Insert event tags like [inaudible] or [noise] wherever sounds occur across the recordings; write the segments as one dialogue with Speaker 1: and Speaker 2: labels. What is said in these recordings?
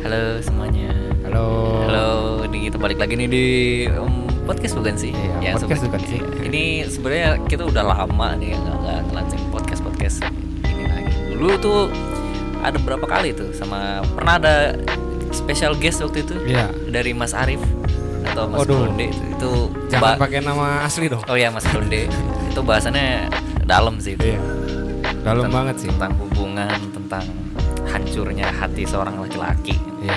Speaker 1: Halo semuanya.
Speaker 2: Halo.
Speaker 1: Halo, ini kita balik lagi nih di um, podcast bukan sih?
Speaker 2: Iya, podcast
Speaker 1: sobat-
Speaker 2: bukan sih.
Speaker 1: [laughs] Ini sebenarnya kita udah lama nih nggak nggak ngelanceng podcast podcast ini lagi. Dulu tuh ada berapa kali tuh sama pernah ada special guest waktu itu
Speaker 2: Iya.
Speaker 1: dari Mas Arif atau Mas
Speaker 2: Waduh.
Speaker 1: Blonde itu, itu
Speaker 2: Jangan
Speaker 1: ba-
Speaker 2: pakai nama asli dong.
Speaker 1: Oh ya Mas Blonde itu bahasannya dalam sih itu.
Speaker 2: Iya. Dalam
Speaker 1: Tentang-
Speaker 2: banget sih.
Speaker 1: tentang hubungan tentang hancurnya hati seorang laki-laki.
Speaker 2: Iya.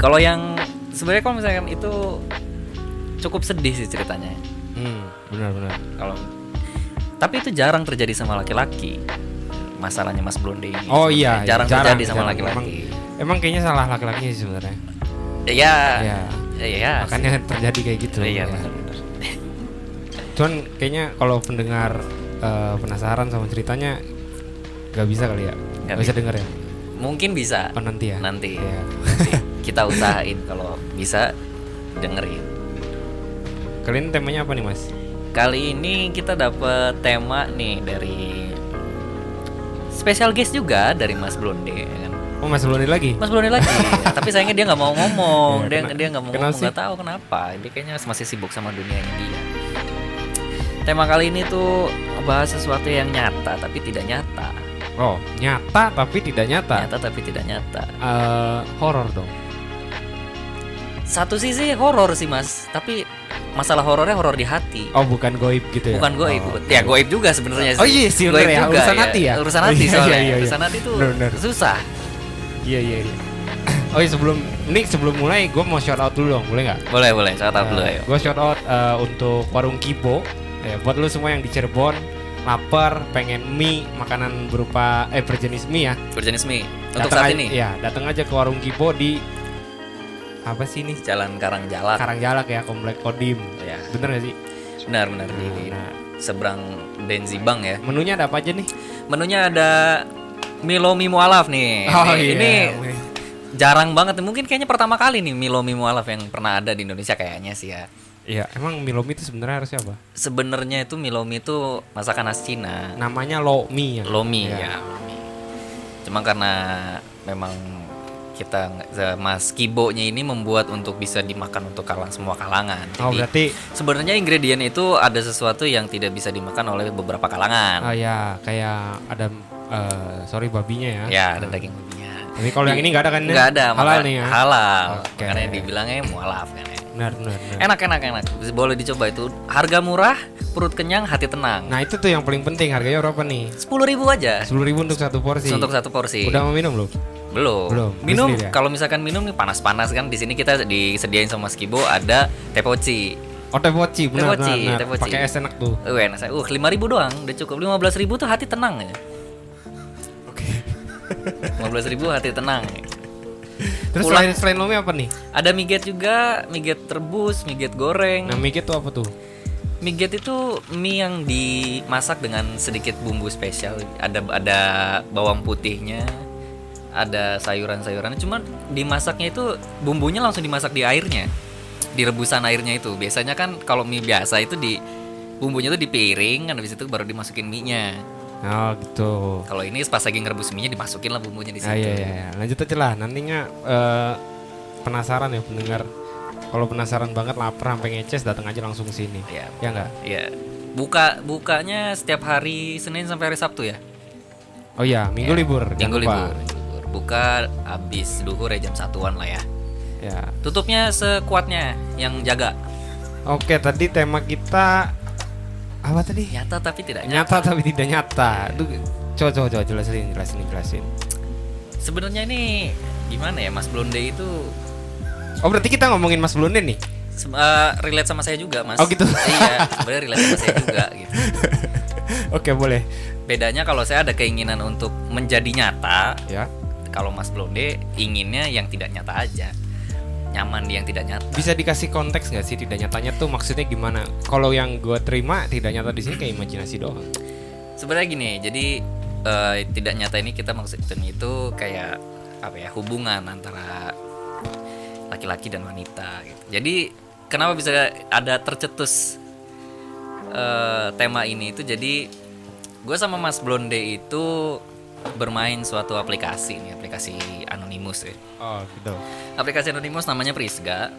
Speaker 1: Kalau yang sebenarnya kalau misalkan itu cukup sedih sih ceritanya.
Speaker 2: Hmm, benar-benar.
Speaker 1: Kalau tapi itu jarang terjadi sama laki-laki. Masalahnya Mas Blonde ini.
Speaker 2: Oh iya,
Speaker 1: Jarang,
Speaker 2: iya,
Speaker 1: terjadi sama
Speaker 2: jarang.
Speaker 1: laki-laki.
Speaker 2: Emang, emang kayaknya salah laki-lakinya sih sebenarnya.
Speaker 1: Iya.
Speaker 2: Iya.
Speaker 1: Iya.
Speaker 2: Makanya terjadi kayak gitu.
Speaker 1: Iya,
Speaker 2: ya.
Speaker 1: benar-benar.
Speaker 2: Cuman kayaknya kalau pendengar eh, penasaran sama ceritanya nggak bisa kali ya.
Speaker 1: Nggak
Speaker 2: Nggak bisa
Speaker 1: bisa.
Speaker 2: denger ya.
Speaker 1: Mungkin bisa.
Speaker 2: Oh, nanti ya.
Speaker 1: Nanti.
Speaker 2: Iya.
Speaker 1: Nanti. Kita usahain kalau bisa dengerin.
Speaker 2: Kalian temanya apa nih, Mas?
Speaker 1: Kali ini kita dapet tema nih dari special guest juga dari Mas Blonde ya kan.
Speaker 2: Oh, Mas Loni lagi.
Speaker 1: Mas Broni
Speaker 2: [laughs]
Speaker 1: lagi, tapi sayangnya dia nggak mau ngomong.
Speaker 2: Iya,
Speaker 1: Dia
Speaker 2: kena-
Speaker 1: dia nggak mau
Speaker 2: kena
Speaker 1: ngomong, nggak
Speaker 2: sih.
Speaker 1: tahu kenapa. Dia kayaknya masih sibuk sama dunianya dia. Tema kali ini tuh bahas sesuatu yang nyata tapi tidak nyata,
Speaker 2: Oh, nyata tapi tidak nyata.
Speaker 1: nyata tapi tidak nyata.
Speaker 2: Eh, horor dong.
Speaker 1: Satu sisi horor sih mas, tapi masalah horornya horor di hati,
Speaker 2: Oh, bukan goib gitu ya.
Speaker 1: bukan goib.
Speaker 2: Oh,
Speaker 1: Ya
Speaker 2: oke.
Speaker 1: goib juga sebenarnya.
Speaker 2: Oh iya sih,
Speaker 1: Goib
Speaker 2: bener ya, urusan hati ya?
Speaker 1: Urusan
Speaker 2: Oh
Speaker 1: hati
Speaker 2: iya,
Speaker 1: soalnya,
Speaker 2: iya, iya, iya.
Speaker 1: urusan hati tuh
Speaker 2: Bener, bener.
Speaker 1: susah.
Speaker 2: Iya iya iya. Oh iya sebelum ini sebelum mulai gue mau shout out dulu dong boleh nggak?
Speaker 1: Boleh boleh, saya tahu dulu ayo.
Speaker 2: gue shout out eh, untuk warung Kibo. Ya, buat lu semua yang di Cirebon lapar pengen mie makanan berupa eh berjenis mie ya.
Speaker 1: Berjenis mie untuk
Speaker 2: Datang
Speaker 1: saat
Speaker 2: aja-
Speaker 1: ini
Speaker 2: Ya datang aja ke warung Kibo di apa sih ini?
Speaker 1: Jalan Karangjalak.
Speaker 2: Karangjalak ya komplek Kodim.
Speaker 1: Ya.
Speaker 2: Bener gak sih?
Speaker 1: Benar-benar di, di
Speaker 2: Nah,
Speaker 1: seberang Benzibang ya.
Speaker 2: menunya ada apa aja nih?
Speaker 1: Menunya ada Milo Mi Mualaf nih.
Speaker 2: Oh,
Speaker 1: Ini-
Speaker 2: iya,
Speaker 1: Ini jarang banget mungkin kayaknya pertama kali nih Milo Mi Mualaf yang pernah ada di Indonesia kayaknya sih ya.
Speaker 2: Iya, emang Milomi itu sebenarnya harusnya apa?
Speaker 1: Sebenarnya itu Milo Mi itu masakan khas Cina,
Speaker 2: Namanya Lomi ya.
Speaker 1: lomi
Speaker 2: Iya.
Speaker 1: ya. lomi. Cuma karena memang kita nggak- Mas Kibo-nya ini membuat untuk bisa dimakan untuk kalang semua kalangan.
Speaker 2: Oh
Speaker 1: Jadi,
Speaker 2: berarti
Speaker 1: sebenarnya ingredient itu ada sesuatu yang tidak bisa dimakan oleh beberapa kalangan.
Speaker 2: Oh ya, kayak ada eh, sorry babinya ya.
Speaker 1: Ya, ada daging babinya.
Speaker 2: Tapi kalau yang ini nggak ada kan?
Speaker 1: Nggak ada,
Speaker 2: Halal
Speaker 1: maka-
Speaker 2: nih ya.
Speaker 1: Halal.
Speaker 2: Oke.
Speaker 1: Makanya dibilangnya mualaf kan ya.
Speaker 2: Benar, benar, benar.
Speaker 1: Enak enak enak. Boleh dicoba itu. Harga murah, perut kenyang, hati tenang.
Speaker 2: Nah itu tuh yang paling penting. Harganya berapa nih?
Speaker 1: Sepuluh ribu aja
Speaker 2: Sepuluh ribu untuk satu porsi.
Speaker 1: untuk satu porsi.
Speaker 2: Udah mau minum belum?
Speaker 1: belum.
Speaker 2: Belum.
Speaker 1: Minum
Speaker 2: Beli sendiri ya?
Speaker 1: kalau misalkan minum nih panas-panas kan di sini kita disediain sama Mas Kibo ada teh poci.
Speaker 2: Oh teh poci, benar,
Speaker 1: poci,
Speaker 2: benar,
Speaker 1: teh
Speaker 2: benar.
Speaker 1: poci.
Speaker 2: Pakai es enak tuh.
Speaker 1: Uh, enak saya. Uh, 5.000 doang, udah cukup. 15.000 tuh hati tenang ya.
Speaker 2: Oke.
Speaker 1: 15.000 hati tenang.
Speaker 2: Terus
Speaker 1: Pulang.
Speaker 2: selain selain lomi apa nih?
Speaker 1: Ada miget juga, miget rebus, miget goreng.
Speaker 2: Nah mikir tuh apa tuh?
Speaker 1: Miget itu mie yang dimasak dengan sedikit bumbu spesial. Ada ada bawang putihnya, ada sayuran-sayurannya. Cuman dimasaknya itu bumbunya langsung dimasak di airnya, di rebusan airnya itu. Biasanya kan kalau mie biasa itu di bumbunya itu di piring, kan habis itu baru dimasukin mie-nya.
Speaker 2: Oh gitu.
Speaker 1: Kalau ini pas lagi ngerebus mie-nya dimasukin lah bumbunya di situ.
Speaker 2: Ah, iya, iya, iya. Lanjut aja lah. Nantinya eh, penasaran ya pendengar. Kalau penasaran banget lapar sampai ngeces datang aja langsung ke sini.
Speaker 1: Iya.
Speaker 2: Ya enggak?
Speaker 1: Iya. Buka bukanya setiap hari Senin sampai hari Sabtu ya.
Speaker 2: Oh iya, minggu libur.
Speaker 1: Minggu
Speaker 2: jangan lupa.
Speaker 1: libur. libur. Buka abis duhur ya jam satuan lah ya.
Speaker 2: Ya.
Speaker 1: Tutupnya sekuatnya yang jaga.
Speaker 2: Oke, tadi tema kita apa tadi?
Speaker 1: Nyata tapi tidak nyata.
Speaker 2: Nyata tapi tidak nyata. Itu coba coba coba jelasin jelasin jelasin.
Speaker 1: Sebenarnya ini gimana ya Mas Blonde itu
Speaker 2: Oh berarti kita ngomongin Mas Blonde nih?
Speaker 1: se- eh, relate sama saya juga Mas.
Speaker 2: Oh, gitu.
Speaker 1: [laughs] iya, sebenarnya relate sama saya juga gitu.
Speaker 2: [laughs] Oke boleh.
Speaker 1: Bedanya kalau saya ada keinginan untuk menjadi nyata,
Speaker 2: Ya.
Speaker 1: kalau Mas Blonde inginnya yang tidak nyata aja. Nyaman di yang tidak nyata.
Speaker 2: Bisa dikasih konteks nggak sih tidak nyatanya tuh maksudnya gimana? Kalau yang gue terima tidak nyata di sini kayak imajinasi doang.
Speaker 1: Sebenarnya gini, jadi eh, tidak nyata ini kita maksudnya itu kayak apa ya hubungan antara laki-laki dan wanita. Gitu. Jadi kenapa bisa ada tercetus eh, tema ini itu jadi gue sama Mas Blonde itu bermain suatu aplikasi nih aplikasi Anonymous ya.
Speaker 2: Oh gitu.
Speaker 1: aplikasi Anonymous namanya Prisga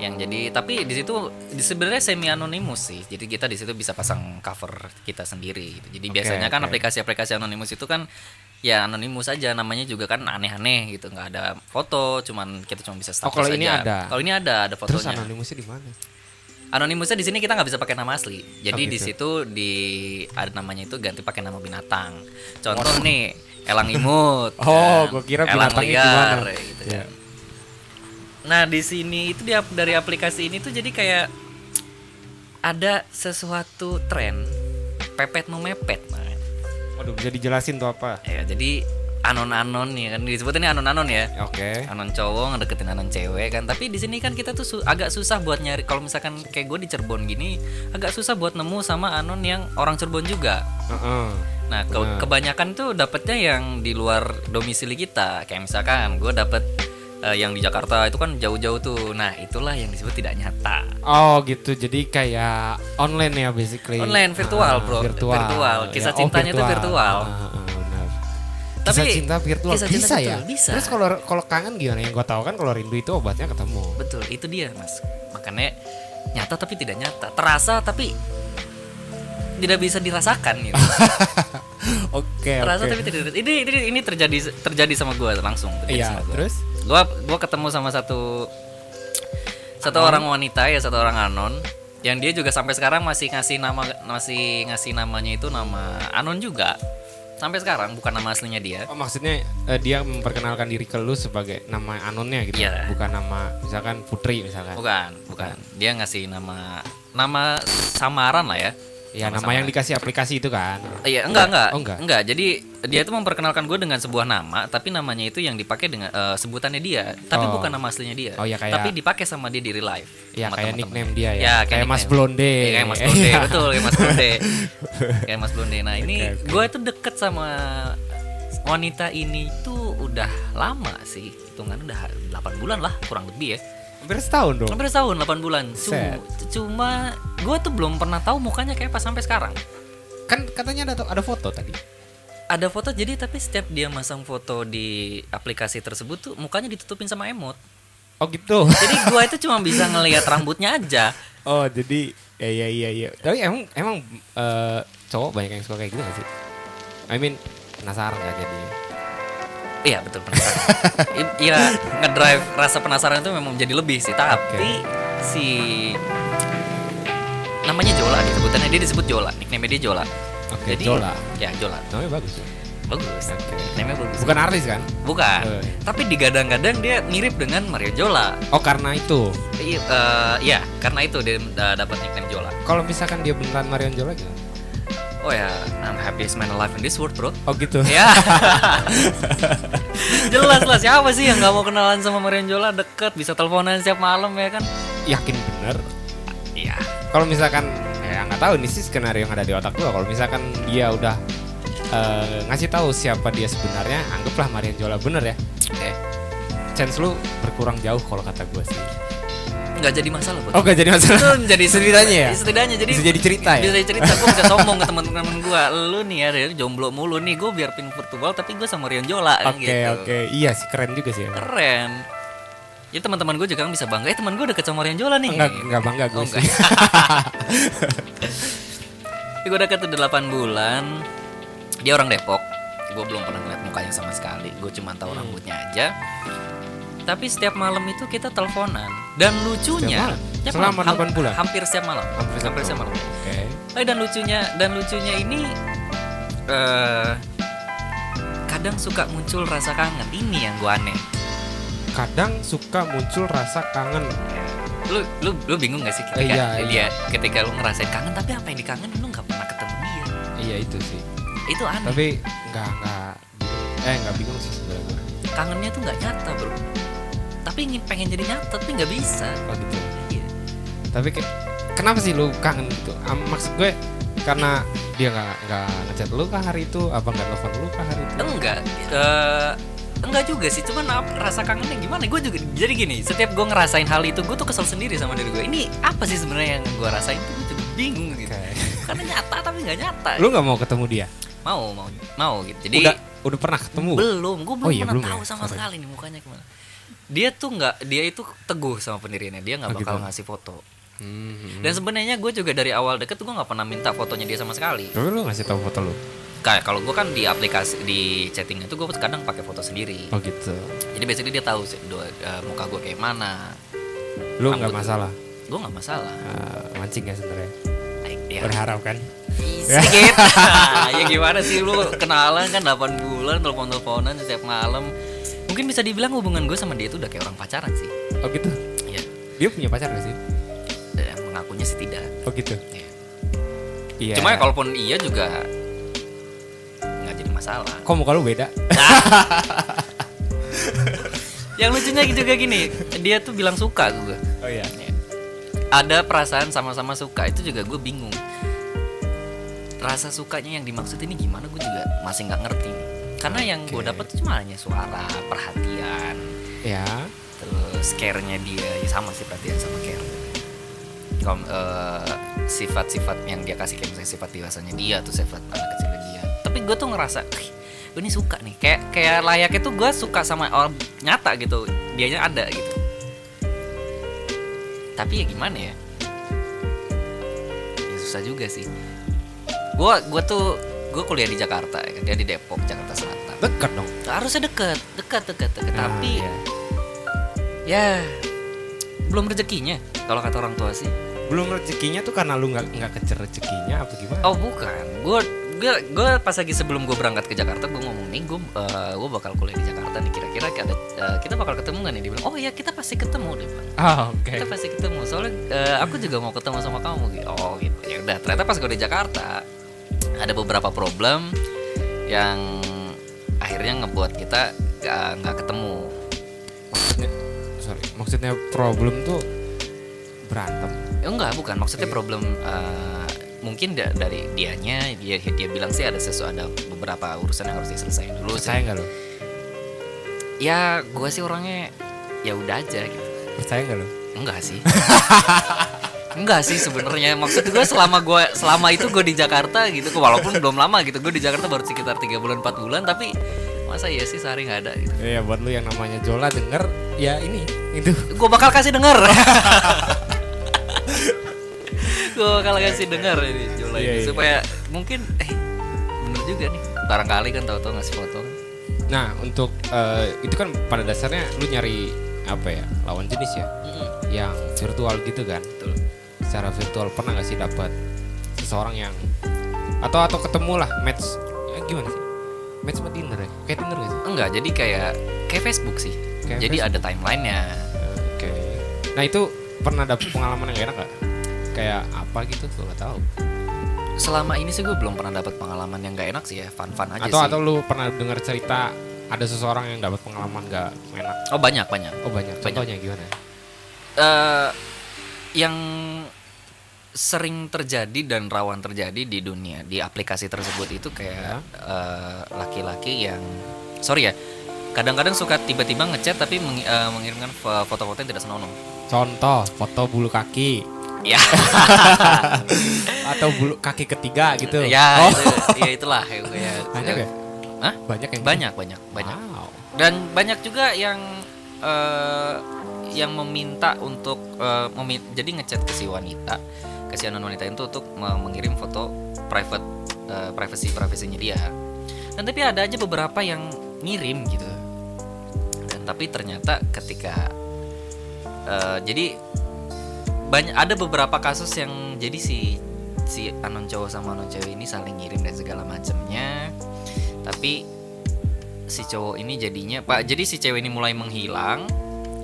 Speaker 1: yang jadi tapi di situ di- sebenarnya semi anonimus sih jadi kita di situ bisa pasang cover kita sendiri gitu. jadi
Speaker 2: Oke,
Speaker 1: biasanya kan
Speaker 2: oke.
Speaker 1: aplikasi-aplikasi anonimus itu kan ya anonimus aja namanya juga kan aneh-aneh gitu nggak ada foto cuman kita cuma bisa status
Speaker 2: Oh, kalau ini
Speaker 1: aja.
Speaker 2: ada.
Speaker 1: kalau ini ada ada
Speaker 2: Terus
Speaker 1: fotonya
Speaker 2: anonimusnya di mana?
Speaker 1: anonimusnya di sini kita nggak bisa pakai nama asli jadi
Speaker 2: Oh,
Speaker 1: di
Speaker 2: gitu.
Speaker 1: situ di ada namanya itu ganti pakai nama binatang contoh nih elang imut
Speaker 2: Oh,
Speaker 1: kan.
Speaker 2: gua kira
Speaker 1: elang
Speaker 2: binatangnya di
Speaker 1: liar,
Speaker 2: mana.
Speaker 1: gitu
Speaker 2: Ya.
Speaker 1: kan. Nah di sini itu dia dari aplikasi ini tuh jadi kayak ada sesuatu tren pepet memepet. Nah,
Speaker 2: Waduh, bisa dijelasin tuh apa?
Speaker 1: Ya, jadi anon-anon ya kan disebutinnya anon-anon ya.
Speaker 2: Oke.
Speaker 1: Anon cowok ngedeketin anon cewek kan. Tapi di sini kan kita tuh su- agak susah buat nyari. Kalau misalkan kayak gue di Cirebon gini, agak susah buat nemu sama anon yang orang Cirebon juga.
Speaker 2: Heeh.
Speaker 1: Nah, ke-
Speaker 2: Benar.
Speaker 1: kebanyakan tuh dapetnya yang di luar domisili kita. Kayak misalkan gue dapet eh, yang di Jakarta itu kan jauh-jauh tuh. Nah, itulah yang disebut tidak nyata.
Speaker 2: Oh gitu, jadi kayak online ya basically.
Speaker 1: Online, virtual,
Speaker 2: Ah,
Speaker 1: bro.
Speaker 2: Virtual. oh,
Speaker 1: Virtual. Kisah cintanya tuh virtual.
Speaker 2: Ah, ah, benar.
Speaker 1: Tapi
Speaker 2: kisah cinta virtual
Speaker 1: kisah cinta
Speaker 2: bisa ya.
Speaker 1: virtual, bisa.
Speaker 2: Terus kalau kalau kangen gimana? Yang gue tahu kan kalau rindu itu obatnya ketemu.
Speaker 1: [gasps] Betul, itu dia, Mas. Makanya nyata tapi tidak nyata. Terasa tapi tidak bisa dirasakan gitu.
Speaker 2: Oke.
Speaker 1: Terasa
Speaker 2: oke.
Speaker 1: tapi tidak ini, ini ini terjadi terjadi sama gue langsung. terjadi
Speaker 2: Iya.
Speaker 1: sama gua.
Speaker 2: Terus?
Speaker 1: gua gua ketemu sama satu satu orang wanita ya satu orang anon yang dia juga sampai sekarang masih ngasih nama masih ngasih namanya itu nama anon juga sampai sekarang bukan nama aslinya dia
Speaker 2: Oh maksudnya eh, dia memperkenalkan diri ke lu sebagai nama anonnya gitu,
Speaker 1: Iya. Oh,
Speaker 2: bukan nama misalkan Putri misalkan.
Speaker 1: bukan bukan dia ngasih nama nama samaran lah ya
Speaker 2: Ya nama
Speaker 1: Sama-sama.
Speaker 2: yang dikasih aplikasi itu kan.
Speaker 1: Iya, enggak, enggak.
Speaker 2: Oh, enggak.
Speaker 1: Jadi dia tuh memperkenalkan gue dengan sebuah nama, tapi namanya itu yang dipakai dengan eh, sebutannya dia, tapi
Speaker 2: Oh.
Speaker 1: bukan nama aslinya dia.
Speaker 2: Oh, ya, kayak-
Speaker 1: tapi dipakai sama dia di real life.
Speaker 2: Ya
Speaker 1: sama
Speaker 2: kayak
Speaker 1: teman-teman.
Speaker 2: nickname dia ya.
Speaker 1: Ya,
Speaker 2: kayak, Mas
Speaker 1: nickname.
Speaker 2: Blonde.
Speaker 1: Iya, kayak Mas Blonde,
Speaker 2: Iya.
Speaker 1: betul, kayak Mas Blonde. kayak Mas Blonde. Nah, ini
Speaker 2: Oke, oke.
Speaker 1: gue tuh deket sama wanita ini tuh udah lama sih. Hitungan udah 8 bulan lah, kurang lebih ya.
Speaker 2: [laughs] Hampir setahun dong.
Speaker 1: Hampir setahun 8 bulan. Cu-
Speaker 2: Set.
Speaker 1: Cuma gue tuh belum pernah tahu mukanya kayak pas sampai sekarang.
Speaker 2: Kan katanya ada ada foto tadi.
Speaker 1: ada foto jadi tapi setiap dia masang foto di aplikasi tersebut tuh mukanya ditutupin sama emot
Speaker 2: Oh gitu.
Speaker 1: jadi gua itu cuma bisa ngelihat rambutnya aja
Speaker 2: Oh jadi ya ya ya ya. Tapi emang emang eh, cowok banyak yang suka kayak gitu gak sih? I mean penasaran ya gak jadi?
Speaker 1: iya betul penasaran I- iya ngedrive rasa penasaran itu memang jadi lebih sih tapi si namanya Jola disebutannya dia disebut Jola nickname dia Jola
Speaker 2: Oke, Jola.
Speaker 1: ya Jola
Speaker 2: Namanya bagus. ya?
Speaker 1: bagus
Speaker 2: Oke.
Speaker 1: nickname bagus
Speaker 2: Bukan artis kan?
Speaker 1: bukan
Speaker 2: Eh.
Speaker 1: tapi digadang-gadang dia mirip dengan Mario Jola
Speaker 2: Oh karena itu.
Speaker 1: I- eh, iya karena itu dia eh, dapat nickname Jola
Speaker 2: Kalau misalkan dia beneran Marion Jola gitu.
Speaker 1: Oh ya, I'm happiest man alive in this world,
Speaker 2: [laughs]
Speaker 1: bro.
Speaker 2: Oh gitu.
Speaker 1: Ya. Jelas lah siapa sih yang nggak mau kenalan sama Marion Jola deket bisa teleponan setiap malam ya kan?
Speaker 2: Yakin bener?
Speaker 1: Iya.
Speaker 2: Kalau misalkan ya nggak tahu nih sih skenario yang ada di otak gua. Kalau misalkan dia udah eh, ngasih tahu siapa dia sebenarnya, anggaplah Marion Jola bener ya.
Speaker 1: Oke.
Speaker 2: Chance lu berkurang jauh kalau kata gue sih.
Speaker 1: Nggak jadi masalah buat.
Speaker 2: Oh
Speaker 1: [laughs]
Speaker 2: gak jadi
Speaker 1: Itu
Speaker 2: masalah.
Speaker 1: jadi
Speaker 2: Setidaknya ya?
Speaker 1: Setidaknya jadi
Speaker 2: Bisa jadi cerita ya?
Speaker 1: Bisa jadi cerita. Gue bisa sombong ke teman-teman gue. Lu nih ya dari jomblo mulu nih. Gue biar pin virtual tapi gue sama Marion Jola kan
Speaker 2: Oke
Speaker 1: gitu.
Speaker 2: oke. Iya sih keren juga sih. emang.
Speaker 1: Keren. Ya teman-teman gue juga kan bisa bangga. Eh teman gue deket sama Marion Jola nih.
Speaker 2: Enggak enggak bangga gue
Speaker 1: Oh,
Speaker 2: sih.
Speaker 1: [laughs] gue deket udah 8 bulan dia orang Depok gue belum pernah ngeliat mukanya sama sekali gue cuma
Speaker 2: Hmm.
Speaker 1: tahu rambutnya aja tapi setiap malam itu kita teleponan dan lucunya
Speaker 2: Setiap malam?
Speaker 1: setiap
Speaker 2: Selama
Speaker 1: malam,
Speaker 2: delapan bulan?
Speaker 1: hampir setiap malam hampir setiap, malam
Speaker 2: Oke.
Speaker 1: Eh, dan lucunya dan lucunya ini eh kadang suka muncul rasa kangen ini yang gue aneh
Speaker 2: Kadang suka muncul rasa kangen.
Speaker 1: lu lu lu bingung gak sih ketika
Speaker 2: Eh, iya,
Speaker 1: dia
Speaker 2: iya.
Speaker 1: ketika lu ngerasain kangen tapi apa yang dikangen lu nggak pernah ketemu dia
Speaker 2: Iya itu sih.
Speaker 1: itu aneh
Speaker 2: Tapi enggak enggak eh enggak bingung sih sebenarnya.
Speaker 1: kangennya tuh nggak nyata bro tapi ingin pengen jadi nyata tapi nggak bisa
Speaker 2: Oh gitu.
Speaker 1: iya
Speaker 2: Tapi ke- kenapa sih lu kangen gitu? Am- maksud gue karena dia nggak nggak ngechat lu kah hari itu? Apa nggak telepon lu kah hari itu?
Speaker 1: enggak gitu. eh, enggak juga sih cuman ap- rasa kangennya gimana gue juga jadi gini setiap gue ngerasain hal itu gue tuh kesel sendiri sama diri gue ini apa sih sebenarnya yang gue rasain tuh gue juga bingung gitu
Speaker 2: Oke.
Speaker 1: karena nyata tapi nggak nyata
Speaker 2: Lu nggak mau ketemu dia?
Speaker 1: mau mau mau gitu jadi
Speaker 2: udah udah pernah ketemu.
Speaker 1: belum gue belum
Speaker 2: Oh iya,
Speaker 1: pernah
Speaker 2: belum
Speaker 1: tahu
Speaker 2: ya?
Speaker 1: sama
Speaker 2: Sorry.
Speaker 1: sekali nih mukanya gimana dia tuh nggak dia itu teguh sama pendiriannya dia nggak
Speaker 2: Oh,
Speaker 1: bakal
Speaker 2: gitu.
Speaker 1: ngasih foto
Speaker 2: Hmm.
Speaker 1: dan sebenarnya gue juga dari awal deket gue nggak pernah minta fotonya dia sama sekali
Speaker 2: Tapi lu ngasih tahu foto lu.
Speaker 1: kayak kalau gue kan di aplikasi di chatting itu gue kadang pakai foto sendiri
Speaker 2: Oh gitu.
Speaker 1: jadi basically dia tahu sih, do- eh, muka gue kayak mana
Speaker 2: Lu nggak
Speaker 1: Rambut.
Speaker 2: masalah.
Speaker 1: gue nggak masalah
Speaker 2: Eh, mancing ya sebenarnya.
Speaker 1: Baik, dia
Speaker 2: Berharap kan. [laughs]
Speaker 1: sedikit [laughs] ya gimana sih lu kenalan kan 8 bulan telepon teleponan setiap malam mungkin bisa dibilang hubungan gue sama dia itu udah kayak orang pacaran sih
Speaker 2: Oh gitu.
Speaker 1: ya
Speaker 2: Dia punya pacar gak sih?
Speaker 1: dan mengakunya sih tidak
Speaker 2: Oh gitu.
Speaker 1: Ya.
Speaker 2: Iya.
Speaker 1: Cuma ya kalaupun iya juga nggak jadi masalah.
Speaker 2: kok muka lu beda?
Speaker 1: Yang lucunya juga gini, dia tuh bilang suka gue.
Speaker 2: Oh iya.
Speaker 1: Ada perasaan sama-sama suka itu juga gue bingung. Rasa sukanya yang dimaksud ini gimana gue juga masih nggak ngerti. Karena yang gue
Speaker 2: Oke.
Speaker 1: dapat tuh cuma hanya suara, perhatian,
Speaker 2: Ya.
Speaker 1: terus care-nya dia ya sama sih perhatian sama care. Kom, eh, sifat-sifat yang dia kasih kayak misalnya sifat dewasanya dia atau sifat anak kecil dia. Tapi gue tuh ngerasa, "Ih, gue ini suka nih. Kayak kayak layaknya tuh gue suka sama orang nyata gitu. Dianya ada gitu. Tapi ya gimana ya? Ya susah juga sih. Gue gua tuh gue kuliah di Jakarta, ya kan. dia di Depok, Jakarta Selatan.
Speaker 2: Dekat dong.
Speaker 1: Harusnya deket, deket, deket, deket.
Speaker 2: Ah,
Speaker 1: Tapi
Speaker 2: iya.
Speaker 1: ya belum rezekinya kalau kata orang tua sih
Speaker 2: belum rezekinya tuh karena lu nggak nggak kejar rezekinya apa gimana?
Speaker 1: oh bukan gue gue gue pas lagi sebelum gue berangkat ke Jakarta gue ngomong nih gue gue bakal kuliah di Jakarta nih kira-kira ada eh, kita bakal ketemu nggak nih dia bilang oh ya kita pasti ketemu dia bilang
Speaker 2: Ah, oke.
Speaker 1: kita pasti ketemu soalnya eh, aku juga mau ketemu sama kamu gitu oh gitu ya udah ternyata pas gue di Jakarta ada beberapa problem yang akhirnya ngebuat kita eh, nggak ketemu
Speaker 2: Sorry, maksudnya problem tuh berantem.
Speaker 1: Ya, enggak, bukan. Maksudnya problem eh, mungkin da- dari dianya dia dia bilang sih ada sesuatu ada beberapa urusan yang harus diselesaikan dulu.
Speaker 2: Percaya nggak lu?
Speaker 1: Ya, gue sih orangnya ya udah aja gitu.
Speaker 2: Percaya nggak lu?
Speaker 1: Enggak sih. Enggak sih sebenarnya maksud gue selama gue selama itu gue di Jakarta gitu walaupun belum lama gitu gue di Jakarta baru sekitar tiga bulan 4 bulan tapi masa iya sih sehari nggak ada gitu
Speaker 2: Iya buat lu yang namanya Jola denger ya ini itu
Speaker 1: gue bakal kasih
Speaker 2: [laughs]
Speaker 1: denger gue bakal kasih denger ini Jola
Speaker 2: Iya,
Speaker 1: ini
Speaker 2: iya.
Speaker 1: supaya mungkin eh bener juga nih barangkali kan tahu-tahu ngasih foto
Speaker 2: Nah untuk eh, itu kan pada dasarnya lu nyari apa ya lawan jenis ya yang virtual gitu kan?
Speaker 1: betul
Speaker 2: Secara virtual pernah nggak sih dapat seseorang yang atau atau ketemu lah match eh, gimana sih? Match sama Tinder ya? Kayak Tinder gak sih?
Speaker 1: enggak jadi kayak kayak Facebook sih
Speaker 2: Kayak
Speaker 1: jadi ada timelinenya
Speaker 2: Oke. Nah itu pernah ada pengalaman yang gak enak gak? Kayak apa gitu tuh gak tahu.
Speaker 1: selama ini sih gue belum pernah dapat pengalaman yang nggak enak sih ya fun fun aja
Speaker 2: Atau
Speaker 1: sih
Speaker 2: atau lu pernah dengar cerita ada seseorang yang dapat pengalaman gak enak?
Speaker 1: oh banyak banyak
Speaker 2: Oh banyak.
Speaker 1: Banyak.
Speaker 2: Contohnya gimana?
Speaker 1: eh yang sering terjadi dan rawan terjadi di dunia di aplikasi tersebut itu
Speaker 2: Ya.
Speaker 1: kayak eh, laki-laki yang sorry ya kadang-kadang suka tiba-tiba ngechat tapi meng- eh, mengirimkan fo- foto-foto yang tidak senonoh
Speaker 2: Contoh foto bulu kaki
Speaker 1: ya
Speaker 2: atau bulu kaki ketiga gitu.
Speaker 1: Eh. [laughs] ya
Speaker 2: Oh,
Speaker 1: itu- ya itulah ya, gue ya.
Speaker 2: banyak ya?
Speaker 1: Hah?
Speaker 2: Banyak yang
Speaker 1: banyak banyak banyak
Speaker 2: Wow.
Speaker 1: dan banyak juga yang eh, yang meminta untuk eh, memi- jadi ngechat ke si wanita ke si anon wanita itu untuk me- mengirim foto private eh, privacy privasinya dia dan tapi ada aja beberapa yang ngirim gitu dan tapi ternyata ketika eh, jadi banyak ada beberapa kasus yang jadi si si anon cowok sama anon cewek ini saling ngirim dan segala macamnya tapi si cowok ini jadinya pak jadi si cewek ini mulai menghilang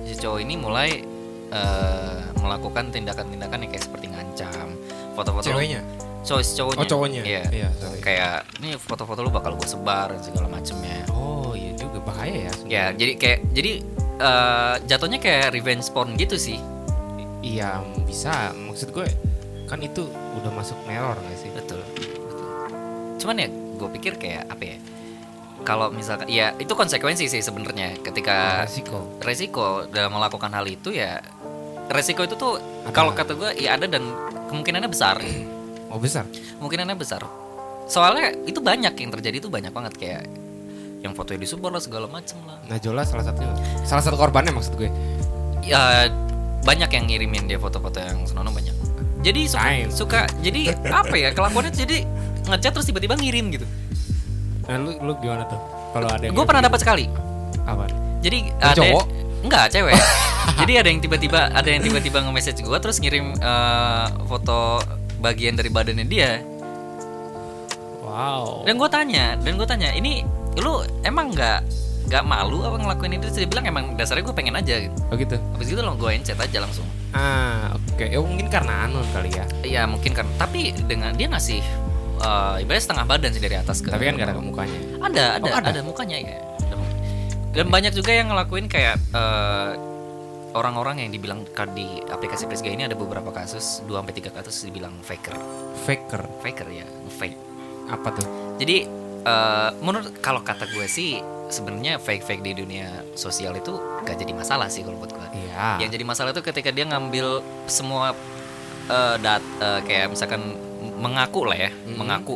Speaker 1: si cowok ini mulai eh, melakukan tindakan-tindakan yang kayak seperti ngancam foto-foto
Speaker 2: Ceweknya?
Speaker 1: cowok si cowoknya
Speaker 2: Oh cowoknya.
Speaker 1: Iya.
Speaker 2: Iya. sorry.
Speaker 1: kayak nih foto-foto lu bakal gue sebar dan segala macamnya
Speaker 2: Oh iya juga bahaya ya. sebenarnya.
Speaker 1: ya jadi kayak jadi eh, jatuhnya kayak revenge porn gitu sih
Speaker 2: Iya bisa. Maksud gue kan itu udah masuk neror gak sih?
Speaker 1: betul, betul. cuman ya gue pikir kayak apa ya kalau misalkan ya itu konsekuensi sih sebenarnya ketika
Speaker 2: Resiko.
Speaker 1: resiko dalam melakukan hal itu ya resiko itu tuh
Speaker 2: Ada.
Speaker 1: kalau kata gue ya ada dan kemungkinannya besar
Speaker 2: Oh besar.
Speaker 1: kemungkinannya besar soalnya itu banyak yang terjadi itu banyak banget kayak yang fotonya disebar lah segala macem lah
Speaker 2: Najola salah satunya salah satu korbannya maksud gue
Speaker 1: ya banyak yang ngirimin dia foto-foto yang senonoh banyak jadi suka,
Speaker 2: Kain.
Speaker 1: suka jadi apa ya kelakuannya tuh jadi ngechat terus tiba-tiba ngirim gitu
Speaker 2: nah, lu, lu gimana tuh kalau ada yang
Speaker 1: gue pernah dapat sekali
Speaker 2: apa
Speaker 1: jadi
Speaker 2: Yang
Speaker 1: ada
Speaker 2: gitu. cowok?
Speaker 1: enggak cewek jadi ada yang tiba-tiba ada yang tiba-tiba nge-message gue terus ngirim eh, foto bagian dari badannya dia
Speaker 2: wow
Speaker 1: dan gue tanya dan gue tanya ini lu emang nggak nggak malu apa ngelakuin itu Terus dia bilang emang dasarnya gue pengen aja gitu
Speaker 2: oh gitu
Speaker 1: habis itu lo gue encet aja langsung
Speaker 2: ah oke ya mungkin karena anon kali ya
Speaker 1: ya mungkin kan tapi dengan dia ngasih eh, ibaratnya setengah badan sih dari atas ke
Speaker 2: tapi kan gak ada ke mukanya
Speaker 1: ada ada,
Speaker 2: Oh,
Speaker 1: ada
Speaker 2: ada?
Speaker 1: mukanya ya Ada mukanya. dan banyak juga yang ngelakuin kayak eh, orang-orang yang dibilang kad- di aplikasi PSG ini ada beberapa kasus 2 sampai 3 kasus dibilang faker
Speaker 2: faker
Speaker 1: faker ya fake
Speaker 2: apa tuh
Speaker 1: jadi eh, menurut kalau kata gue sih sebenarnya fake fake di dunia sosial itu gak jadi masalah sih kalau buat gue
Speaker 2: iya
Speaker 1: yang jadi masalah itu ketika dia ngambil semua eh, dat eh, kayak misalkan mengaku lah ya
Speaker 2: Mhm.
Speaker 1: mengaku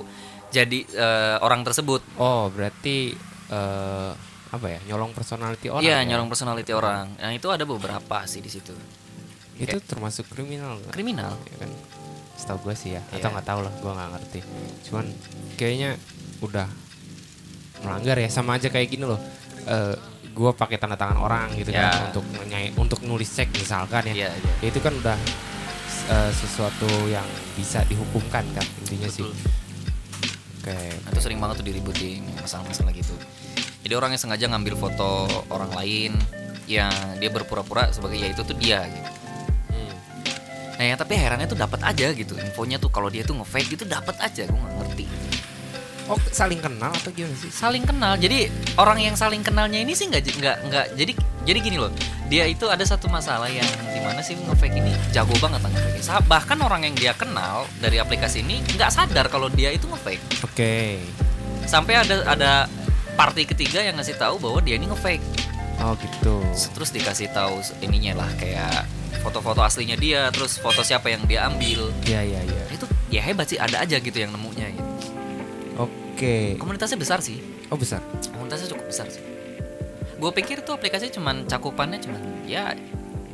Speaker 1: jadi eh, orang tersebut
Speaker 2: oh berarti eh, apa ya nyolong personality orang
Speaker 1: Iya
Speaker 2: ya?
Speaker 1: nyolong personality orang. Nah itu ada beberapa sih di situ.
Speaker 2: itu termasuk kriminal nggak?
Speaker 1: Kriminal.
Speaker 2: ya kan setahu gue sih ya atau
Speaker 1: Iya.
Speaker 2: nggak tahu lah gue nggak ngerti cuman kayaknya udah melanggar ya sama aja kayak gini loh Eh gue pakai tanda tangan orang gitu
Speaker 1: Ya.
Speaker 2: kan untuk nyai untuk nulis cek misalkan ya
Speaker 1: Iya iya.
Speaker 2: itu kan udah s- eh, sesuatu yang bisa dihukumkan kan intinya sih
Speaker 1: Betul.
Speaker 2: oke
Speaker 1: Nah, itu sering banget tuh diributin masalah-masalah gitu. Jadi orang yang sengaja ngambil foto orang lain yang dia berpura-pura sebagai ya itu tuh dia gitu. Nah ya tapi herannya tuh dapat aja gitu infonya tuh kalau dia tuh nge-fake gitu dapat aja gue nggak ngerti.
Speaker 2: oh saling kenal atau gimana sih
Speaker 1: Saling kenal. Jadi orang yang saling kenalnya ini sih nggak j- nggak nggak jadi jadi gini loh. Dia itu ada satu masalah yang dimana sih nge-fake ini jago banget lah nge-fake. Sa- Bahkan orang yang dia kenal dari aplikasi ini nggak sadar kalau dia itu nge-fake.
Speaker 2: oke
Speaker 1: sampai ada ada party ketiga yang ngasih tahu bahwa dia ini ngefake
Speaker 2: oh gitu
Speaker 1: terus dikasih tahu ininya lah kayak foto-foto aslinya dia terus foto siapa yang dia ambil
Speaker 2: ya ya ya
Speaker 1: itu ya hebat sih ada aja gitu yang nemunya gitu.
Speaker 2: oke
Speaker 1: komunitasnya besar sih
Speaker 2: oh besar
Speaker 1: komunitasnya cukup besar sih gue pikir tuh aplikasi cuman cakupannya cuman ya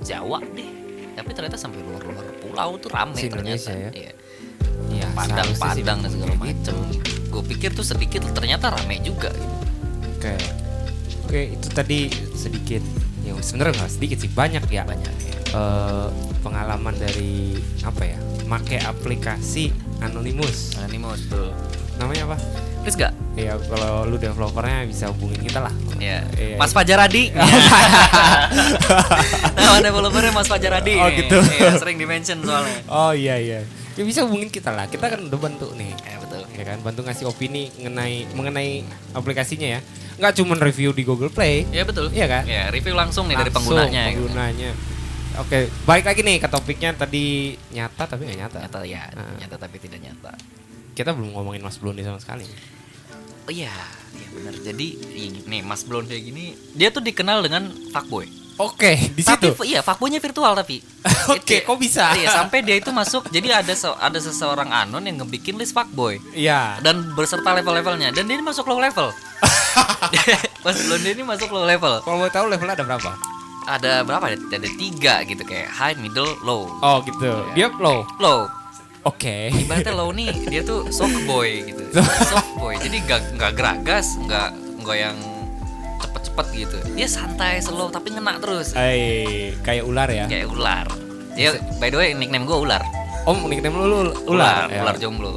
Speaker 1: Jawa deh tapi ternyata sampai luar-luar pulau tuh rame
Speaker 2: Si Indonesia
Speaker 1: ternyata
Speaker 2: ya?
Speaker 1: Iya.
Speaker 2: ya
Speaker 1: Padang
Speaker 2: seharusnya sih
Speaker 1: Padang dan
Speaker 2: memang
Speaker 1: segala
Speaker 2: kayak gitu.
Speaker 1: macem gue pikir tuh sedikit ternyata rame juga gitu.
Speaker 2: Oke. Oke, itu tadi sedikit. Ya sebenarnya nggak sedikit sih, banyak ya.
Speaker 1: banyak ya.
Speaker 2: Eh, pengalaman dari apa ya? Make aplikasi Anonymous.
Speaker 1: Nah, ini mau betul
Speaker 2: Namanya apa?
Speaker 1: Terus gak?
Speaker 2: Ya kalau lu developernya bisa hubungin kita lah.
Speaker 1: Ya.
Speaker 2: Iya.
Speaker 1: Mas Fajar
Speaker 2: [laughs]
Speaker 1: Adi. [laughs] Nama developernya Mas Fajar Adi.
Speaker 2: Oh,
Speaker 1: nih.
Speaker 2: gitu.
Speaker 1: Iya, sering di mention soalnya.
Speaker 2: Oh iya iya. Ya bisa hubungin kita lah. Kita kan udah bantu nih.
Speaker 1: Ya betul.
Speaker 2: Ya kan bantu ngasih opini mengenai mengenai aplikasinya ya. Nggak cuma review di Google Play.
Speaker 1: Ya betul.
Speaker 2: Iya kan?
Speaker 1: Ya, review langsung nih dari
Speaker 2: Langsung
Speaker 1: penggunanya. gitu.
Speaker 2: penggunanya. Oke, balik lagi nih ke topiknya tadi nyata tapi nggak nyata.
Speaker 1: Nyata ya,
Speaker 2: Ah.
Speaker 1: nyata tapi tidak nyata.
Speaker 2: Kita belum ngomongin Mas Blundi sama sekali.
Speaker 1: Oh iya, ya benar. Jadi i- nih Mas Blonde kayak gini, dia tuh dikenal dengan fuckboy.
Speaker 2: Oke, di
Speaker 1: tapi
Speaker 2: situ.
Speaker 1: fu- iya fuckboynya virtual tapi.
Speaker 2: [laughs] Oke,
Speaker 1: Itu-
Speaker 2: kok bisa?
Speaker 1: Iya, sampai dia itu masuk. Jadi ada se- ada seseorang anon yang ngebikin list fuckboy.
Speaker 2: Iya.
Speaker 1: dan berserta level-levelnya dan dia ini masuk low level Mas Blonde ini masuk low level
Speaker 2: [laughs] Kalau mau tahu levelnya ada berapa?
Speaker 1: ada berapa ada, ada tiga gitu kayak high middle low
Speaker 2: Oh, gitu. Dia low.
Speaker 1: low
Speaker 2: Oke. [laughs]
Speaker 1: ibaratnya low nih dia tuh soft boy gitu soft boy jadi gak nggak geragas nggak nggak yang cepet-cepet gitu dia santai slow tapi ngena terus
Speaker 2: Eh. Ay, kayak ular ya.
Speaker 1: kayak ular ya by the way nickname gue ular
Speaker 2: Om nickname lu, lu ular.
Speaker 1: ular,
Speaker 2: ya.
Speaker 1: ular jomblo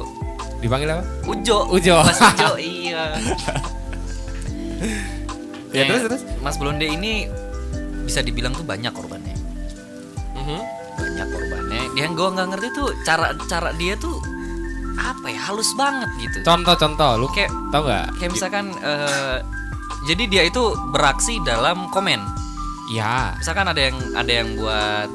Speaker 2: Dipanggil apa?
Speaker 1: Ujo
Speaker 2: Ujo.
Speaker 1: Mas Ujo
Speaker 2: [laughs]
Speaker 1: iya
Speaker 2: Ya,
Speaker 1: Kayak
Speaker 2: terus terus.
Speaker 1: Mas Blonde ini bisa dibilang tuh banyak korbannya
Speaker 2: Mhm.
Speaker 1: banyak korbannya yang gue nggak ngerti tuh cara cara dia tuh apa ya halus banget gitu
Speaker 2: Contoh-contoh lu
Speaker 1: kayak
Speaker 2: tau nggak?
Speaker 1: kayak misalkan eh, jadi dia itu beraksi dalam komen
Speaker 2: Ya.
Speaker 1: misalkan ada yang ada yang buat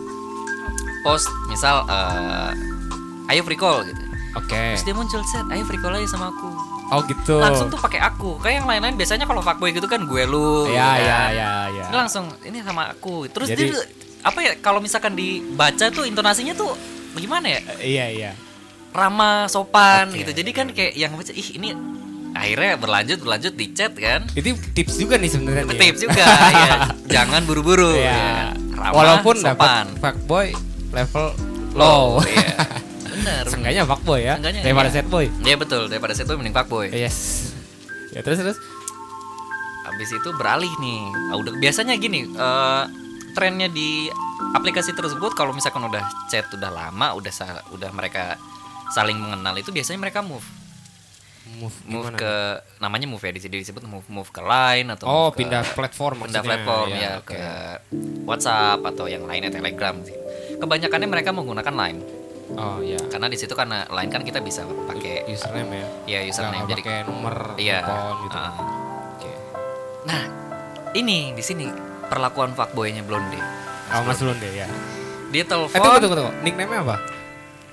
Speaker 1: post misal eh, ayo free call gitu
Speaker 2: Eh. Oke.
Speaker 1: terus dia muncul set ayo free call aja sama aku
Speaker 2: Oh, gitu.
Speaker 1: langsung tuh pakai aku kayak yang lain-lain biasanya kalau fuckboy gitu kan gue lu gitu kan.
Speaker 2: Ya, ya, ya, ya.
Speaker 1: Ini langsung ini sama aku. Terus
Speaker 2: Jadi-
Speaker 1: dia apa ya kalau misalkan dibaca tuh intonasinya tuh gimana ya?
Speaker 2: Eh, Iya, iya.
Speaker 1: ramah sopan
Speaker 2: Oke.
Speaker 1: gitu jadi kan kayak yang baca ih ini akhirnya berlanjut berlanjut di chat kan
Speaker 2: Itu tips juga nih sebenarnya. nih.
Speaker 1: tips juga
Speaker 2: [laughs]
Speaker 1: ya jangan buru-buru
Speaker 2: Iya.
Speaker 1: ya. ramah
Speaker 2: Walaupun
Speaker 1: sopan
Speaker 2: dapat fuckboy level [laughs] low.
Speaker 1: iya. bener
Speaker 2: Seenggaknya fuckboy ya.
Speaker 1: Seenggaknya,
Speaker 2: Daripada
Speaker 1: iya.
Speaker 2: sad boy.
Speaker 1: ya betul daripada situ mending
Speaker 2: Iya.
Speaker 1: fuckboy
Speaker 2: Yes. Ya terus terus.
Speaker 1: Habis itu beralih nih. Ah, udah biasanya gini, eh, trennya di aplikasi tersebut kalau misalkan udah chat udah lama, udah sa- udah mereka saling mengenal itu biasanya mereka move.
Speaker 2: Move,
Speaker 1: Move
Speaker 2: gimana?
Speaker 1: ke namanya move ya di sini disebut move move ke Line atau
Speaker 2: Oh,
Speaker 1: move ke-
Speaker 2: pindah platform
Speaker 1: pindah
Speaker 2: maksudnya. Iya,
Speaker 1: platform ya,
Speaker 2: oke.
Speaker 1: ke WhatsApp atau yang lainnya Telegram sih. Kebanyakannya mereka menggunakan Line
Speaker 2: Oh, iya.
Speaker 1: karena di situ karena Line kan kita bisa pakai
Speaker 2: username ya.
Speaker 1: ya username
Speaker 2: Nggak
Speaker 1: jadi
Speaker 2: pakai nomor
Speaker 1: iya.
Speaker 2: telepon gitu.
Speaker 1: ah.
Speaker 2: Oke.
Speaker 1: Nah, ini di sini perlakuan fuckboy-nya Blonde.
Speaker 2: Oh, Mas Lun deh ya.
Speaker 1: Dia telepon
Speaker 2: Eh, tunggu tunggu tunggu. Nickname apa?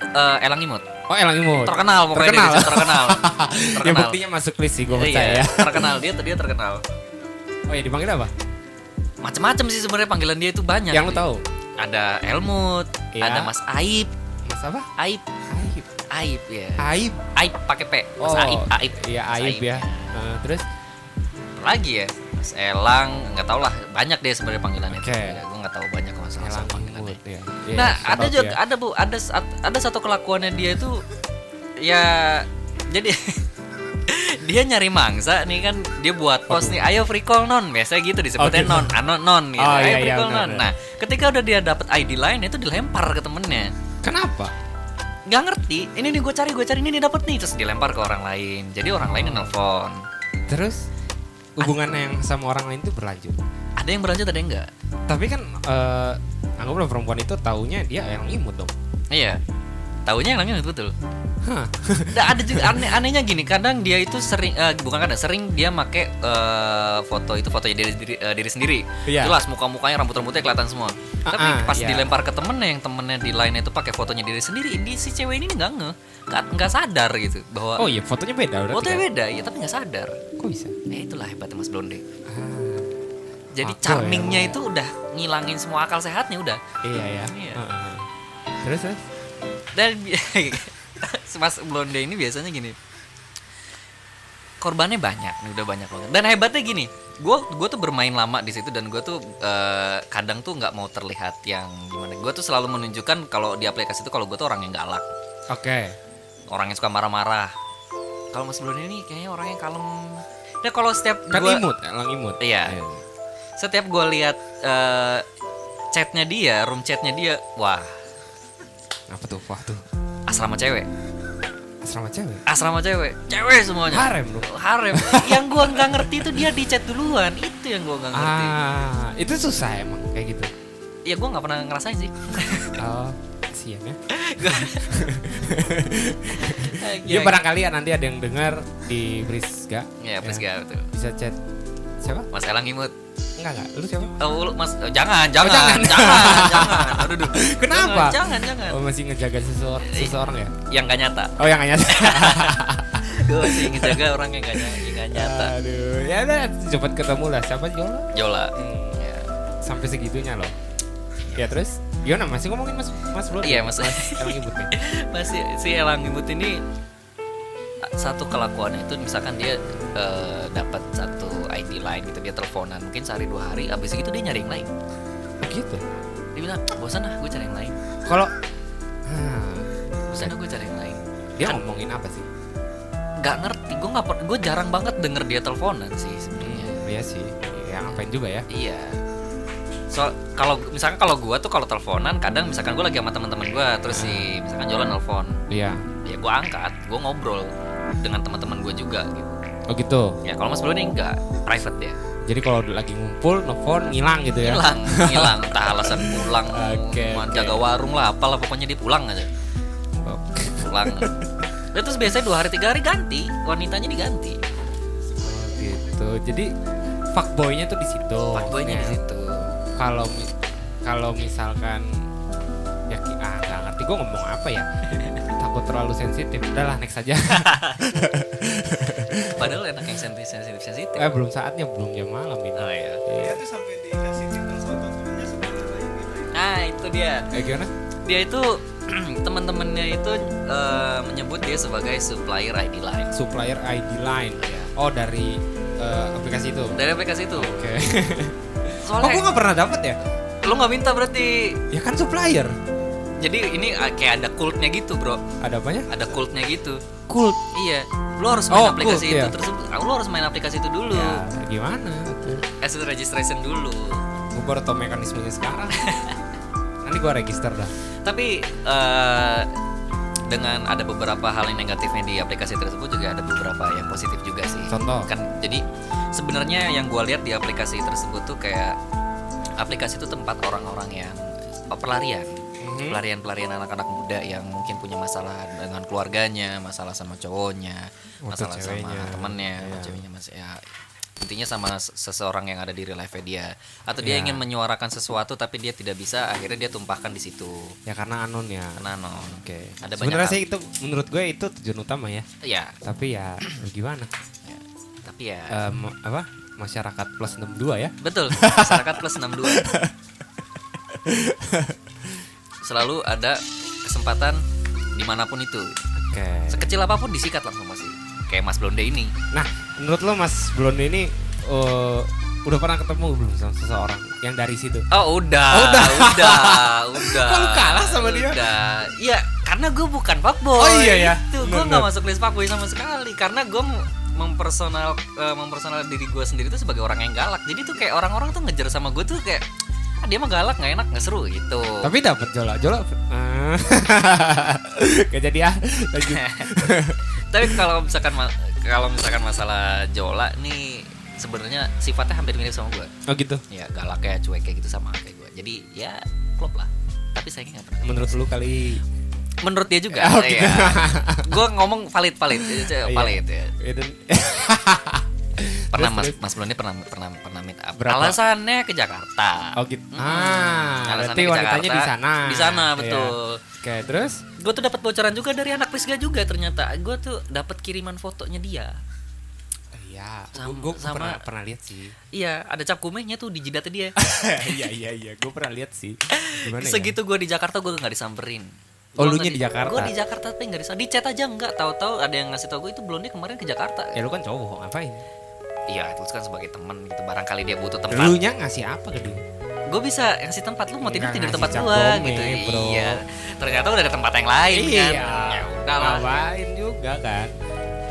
Speaker 1: eh, Elang Imut.
Speaker 2: Oh, Elang Imut. [laughs]
Speaker 1: Terkenal pokoknya
Speaker 2: Terkenal.
Speaker 1: dia terkenal.
Speaker 2: [laughs] Ya
Speaker 1: terkenal.
Speaker 2: buktinya masuk list sih gue
Speaker 1: Iya,
Speaker 2: percaya.
Speaker 1: terkenal dia dia terkenal.
Speaker 2: Oh ya dipanggil apa?
Speaker 1: Macam-macam sih sebenarnya panggilan dia itu banyak.
Speaker 2: Yang lu tahu?
Speaker 1: Ada Elmut,
Speaker 2: Iya.
Speaker 1: ada Mas Aib,
Speaker 2: Mas apa?
Speaker 1: Aib,
Speaker 2: Aib.
Speaker 1: Aib ya.
Speaker 2: Aib.
Speaker 1: Aib pakai P. Mas Aib, Aib.
Speaker 2: Iya
Speaker 1: Mas
Speaker 2: Aib ya. Eh, terus
Speaker 1: Lagi ya. Mas Elang, nggak tau lah banyak deh sebenarnya panggilannya.
Speaker 2: Oke.
Speaker 1: Ya, gue nggak tahu banyak kalau masalah
Speaker 2: Elang
Speaker 1: panggilannya.
Speaker 2: Imut ya. Iya,
Speaker 1: Nah,
Speaker 2: shout
Speaker 1: ada
Speaker 2: out
Speaker 1: juga,
Speaker 2: ya.
Speaker 1: ada bu, ada sat- ada satu kelakuannya dia itu ya jadi [laughs] dia nyari mangsa nih kan dia buat post nih ayo free call non biasanya gitu disebutnya
Speaker 2: Oke.
Speaker 1: non anon non gitu
Speaker 2: Oh,
Speaker 1: ayo
Speaker 2: iya,
Speaker 1: free
Speaker 2: iya,
Speaker 1: call
Speaker 2: benar,
Speaker 1: non
Speaker 2: benar.
Speaker 1: nah ketika udah dia dapat ID lain itu dilempar ke temennya
Speaker 2: Kenapa?
Speaker 1: nggak ngerti ini nih gue cari gue cari ini nih dapat nih terus dilempar ke orang lain jadi orang lain yang nelfon
Speaker 2: Terus hubungannya yang sama orang lain itu berlanjut.
Speaker 1: ada yang berlanjut ada yang enggak
Speaker 2: Tapi kan eh anggaplah perempuan itu taunya dia Elang Imut dong.
Speaker 1: iya taunya yang langit betul
Speaker 2: Hah. [laughs]
Speaker 1: Nah, ada juga aneh anehnya gini kadang dia itu sering eh, bukan kadang sering dia make eh, foto itu fotonya diri diri, eh, diri sendiri
Speaker 2: Iya.
Speaker 1: jelas muka mukanya rambut rambutnya kelihatan semua tapi
Speaker 2: Ah, ah,
Speaker 1: pas
Speaker 2: iya.
Speaker 1: dilempar ke temennya yang temennya di lainnya itu pakai fotonya diri sendiri ini si cewek ini nggak nge nggak nggak sadar gitu bahwa
Speaker 2: Oh iya fotonya beda udah.
Speaker 1: fotonya beda ya tapi nggak sadar
Speaker 2: Kok bisa?
Speaker 1: nah itulah hebatnya mas blonde
Speaker 2: Ah, iya.
Speaker 1: jadi
Speaker 2: Aku
Speaker 1: charmingnya
Speaker 2: emang.
Speaker 1: itu udah ngilangin semua akal sehatnya udah
Speaker 2: iya ya.
Speaker 1: Iya.
Speaker 2: Ah, ah, ah. Terus terus.
Speaker 1: Dan bi- [laughs] Mas Blonde ini biasanya gini. Korbannya banyak, nih udah banyak banget. Dan hebatnya gini, gue gua tuh bermain lama di situ dan gue tuh eh, kadang tuh nggak mau terlihat yang gimana. Gue tuh selalu menunjukkan kalau di aplikasi itu kalau gue tuh orang yang galak,
Speaker 2: Oke.
Speaker 1: orang yang suka marah-marah. Kalau Mas Blonde ini kayaknya orang yang kalem. Nah kalau setiap
Speaker 2: Kan
Speaker 1: gua-
Speaker 2: imut, Elang Imut.
Speaker 1: Iya. setiap gue lihat eh, chatnya dia, room chatnya dia, wah
Speaker 2: Apa tuh? Wah tuh.
Speaker 1: asrama cewek,
Speaker 2: Asrama cewek.
Speaker 1: asrama cewek, cewek semuanya.
Speaker 2: Harem lu.
Speaker 1: [laughs] harem yang gua nggak ngerti itu dia di chat duluan itu yang gua nggak ngerti
Speaker 2: Ah, itu susah emang kayak gitu.
Speaker 1: ya gua nggak pernah ngerasain [laughs] sih
Speaker 2: Oh, kasihan
Speaker 1: Iya,
Speaker 2: ya.
Speaker 1: ya, Iya,
Speaker 2: Ya, barangkali ya nanti ada yang dengar di Priska.
Speaker 1: ya please gak betul
Speaker 2: Bisa chat siapa?
Speaker 1: Mas Elang imut
Speaker 2: Enggak enggak. Lu siapa?
Speaker 1: oh, lu, mas eh, jangan jangan jangan
Speaker 2: jangan.
Speaker 1: [laughs] jangan, Aduh, aduh.
Speaker 2: Kenapa?
Speaker 1: jangan jangan, Iya.
Speaker 2: Oh,
Speaker 1: jangan.
Speaker 2: masih ngejaga seseorang, seseorang ya?
Speaker 1: yang gak nyata
Speaker 2: Oh, yang nggak nyata.
Speaker 1: gua masih ngejaga orang yang gak nyata, yang nggak [laughs] nyata.
Speaker 2: Aduh, ya udah cepat ketemu lah. Siapa Jola?
Speaker 1: Jola
Speaker 2: Hmm,
Speaker 1: Ya.
Speaker 2: sampai segitunya loh. Ya terus, gimana masih ngomongin Mas Mas Blon?
Speaker 1: Iya, Mas.
Speaker 2: Emang ibu nih.
Speaker 1: [laughs] Mas si- si Elang imut ini satu kelakuan itu misalkan dia eh, dapat satu ID lain gitu dia teleponan mungkin sehari dua hari abis itu dia nyari yang lain
Speaker 2: Begitu.
Speaker 1: dia bilang bosan ah gue cari yang lain
Speaker 2: Kalau Ah,
Speaker 1: Bosan gue cari yang lain
Speaker 2: dia ngomongin apa sih?
Speaker 1: Gak ngerti Gue nggak per- Gue jarang banget denger dia teleponan sih sebenarnya
Speaker 2: Hmm, iya sih. Ya ngapain juga ya?
Speaker 1: Iya So kalau misalkan kalau gue tuh kalau teleponan kadang misalkan gue lagi sama teman-teman gue terus si misalkan Jolan nelfon
Speaker 2: Iya.
Speaker 1: ya gue angkat gue ngobrol dengan teman-teman gue juga gitu
Speaker 2: Oh gitu.
Speaker 1: ya kalau mas Bloni enggak private dia
Speaker 2: Jadi kalau lagi ngumpul, nelfon, ngilang gitu ya. [laughs]
Speaker 1: hilang hilang entah alasan pulang
Speaker 2: Oke,
Speaker 1: mau
Speaker 2: oke.
Speaker 1: jaga warung lah apalah pokoknya dia pulang aja
Speaker 2: Oh. [laughs]
Speaker 1: pulang Dan terus biasanya dua hari tiga hari ganti wanitanya diganti
Speaker 2: gitu. Jadi fuckboy-nya tuh di situ.
Speaker 1: fuckboynya
Speaker 2: Ya.
Speaker 1: di situ
Speaker 2: Kalau mi- kalau misalkan ya ki- ah nggak ngerti gue ngomong apa ya. Takut terlalu sensitif. Udahlah next
Speaker 1: [laughs]
Speaker 2: aja.
Speaker 1: padahal enak yang sensitif sensitif sensitif
Speaker 2: eh belum saatnya, belum jam malam ini.
Speaker 1: Oh iya.
Speaker 3: Dia
Speaker 2: Iya.
Speaker 3: tuh sampai dikasih titel soto sebenarnya sebenarnya lain
Speaker 1: Nah itu dia.
Speaker 2: Eh, gimana?
Speaker 1: Dia itu [clears throat] teman-temannya itu eh, menyebut dia sebagai supplier ID line
Speaker 2: Supplier ID line.
Speaker 1: Iya.
Speaker 2: Oh dari eh, aplikasi itu. Oke.
Speaker 1: dari aplikasi itu [laughs]
Speaker 2: oh gue
Speaker 1: soalnya
Speaker 2: nggak pernah dapat ya?
Speaker 1: lo nggak minta berarti
Speaker 2: Ya kan supplier.
Speaker 1: jadi ini eh, kayak ada kultnya gitu bro
Speaker 2: Ada apanya?
Speaker 1: ada kultnya gitu
Speaker 2: Cool.
Speaker 1: iya lo harus main
Speaker 2: Oh,
Speaker 1: aplikasi
Speaker 2: cult,
Speaker 1: itu
Speaker 2: iya.
Speaker 1: terus lo harus main aplikasi itu dulu
Speaker 2: Ya gimana? tuh?
Speaker 1: asset registration dulu
Speaker 2: Gue baru tau
Speaker 1: [laughs]
Speaker 2: mekanismenya sekarang. Nanti gue register dah.
Speaker 1: tapi eh, dengan ada beberapa hal yang negatifnya di aplikasi tersebut juga ada beberapa yang positif juga sih
Speaker 2: Contoh.
Speaker 1: kan jadi sebenarnya yang gue lihat di aplikasi tersebut tuh kayak aplikasi itu tempat orang-orang yang eh, pelarian
Speaker 2: Mhm.
Speaker 1: pelarian-pelarian anak-anak muda yang mungkin punya masalah dengan keluarganya masalah sama cowoknya
Speaker 2: Atau
Speaker 1: masalah
Speaker 2: ceweknya.
Speaker 1: sama temennya sama
Speaker 2: Iya.
Speaker 1: ceweknya masih ya intinya sama se- seseorang yang ada di real life dia atau dia
Speaker 2: Iya.
Speaker 1: ingin menyuarakan sesuatu tapi dia tidak bisa akhirnya dia tumpahkan di situ
Speaker 2: Ya karena anon ya.
Speaker 1: karena no
Speaker 2: Oke.
Speaker 1: Ada banyak
Speaker 2: Sebenarnya
Speaker 1: hal.
Speaker 2: sih itu menurut gue itu tujuan utama ya.
Speaker 1: ya,
Speaker 2: Tapi ya gimana?
Speaker 1: ya. tapi ya
Speaker 2: Em, apa? Masyarakat plus 62 ya.
Speaker 1: Betul, masyarakat plus 62 Selalu ada kesempatan dimanapun itu
Speaker 2: Oke.
Speaker 1: Sekecil apapun disikat langsung masih Kayak Mas Blonde ini
Speaker 2: Nah, menurut lo Mas Blonde ini eh, udah pernah ketemu belum sama seseorang yang dari situ?
Speaker 1: Oh udah,
Speaker 2: Oh, udah.
Speaker 1: udah, udah,
Speaker 2: [laughs]
Speaker 1: udah
Speaker 2: Kok lu kalah sama dia?
Speaker 1: Udah Iya, karena gue bukan fuckboy
Speaker 2: Oh, iya ya.
Speaker 1: Itu, gue
Speaker 2: Bener,
Speaker 1: gak
Speaker 2: bener.
Speaker 1: masuk list fuckboy sama sekali Karena gue mempersonal eh, mempersonal diri gue sendiri tuh sebagai orang yang galak Jadi tuh kayak orang-orang tuh ngejar sama gue tuh kayak "Ah, dia mah galak nggak enak nggak seru gitu
Speaker 2: Tapi dapat jolak, jolak. Eh, [laughs] Gak jadi ah.
Speaker 1: [laughs]
Speaker 2: Lanjut.
Speaker 1: Tapi kalau misalkan ma- kalau misalkan masalah Jola nih sebenarnya sifatnya hampir mirip sama gue.
Speaker 2: Oh gitu.
Speaker 1: Ya galak kayak cuek kayak gitu sama kayak gue. Jadi ya klop lah. Tapi saya nggak pernah.
Speaker 2: Menurut lu kali
Speaker 1: Menurut dia
Speaker 2: [laughs]
Speaker 1: juga.
Speaker 2: Oh, gitu.
Speaker 1: ya. gue ngomong valid valid
Speaker 2: Iya.
Speaker 1: valid ya.
Speaker 2: Eden-
Speaker 1: Pernah
Speaker 2: Terus,
Speaker 1: mas mas
Speaker 2: terus.
Speaker 1: Bloni pernah pernah pernah meet up.
Speaker 2: Berapa?
Speaker 1: Alasannya ke Jakarta.
Speaker 2: [laughs] Oh gitu.
Speaker 1: Mm-mm.
Speaker 2: Ah,
Speaker 1: Hmm. Alasannya
Speaker 2: berarti
Speaker 1: ke
Speaker 2: wanitanya di
Speaker 1: Jakarta.
Speaker 2: sana.
Speaker 1: Di sana
Speaker 2: Iya.
Speaker 1: betul.
Speaker 2: Oke, terus
Speaker 1: Gue tuh dapat bocoran juga dari anak Prisga juga ternyata. Gue tuh dapat kiriman fotonya dia.
Speaker 2: Iya,
Speaker 1: Sama-
Speaker 2: gue
Speaker 1: sama-
Speaker 2: pernah pernah lihat sih.
Speaker 1: Iya, ada cap kumehnya tuh di jidatnya dia.
Speaker 2: [laughs] Iya iya iya, gue pernah lihat sih. Gimana ya?
Speaker 1: Segitu gue di Jakarta gue nggak disamperin.
Speaker 2: Oh, lunya di Jakarta?
Speaker 1: Gue di Jakarta tapi nggak disamperin. Di chat aja nggak. Tahu-tahu ada yang ngasih tau gue itu Blondie kemarin ke Jakarta.
Speaker 2: Ya lu kan cowok, ngapain?
Speaker 1: Iya, itu kan sebagai teman gitu. Barangkali dia butuh tempat.
Speaker 2: Lu nya ngasih apa ke dia?
Speaker 1: Gue bisa ngasih tempat lu mau tidur tidur di
Speaker 2: Nggak ngasih
Speaker 1: tempat
Speaker 2: cap
Speaker 1: gua
Speaker 2: gome,
Speaker 1: gitu.
Speaker 2: bro.
Speaker 1: Iya. Ternyata udah ada tempat yang lain kan. Ya udahlah.
Speaker 2: Ngapain Iya, juga kan?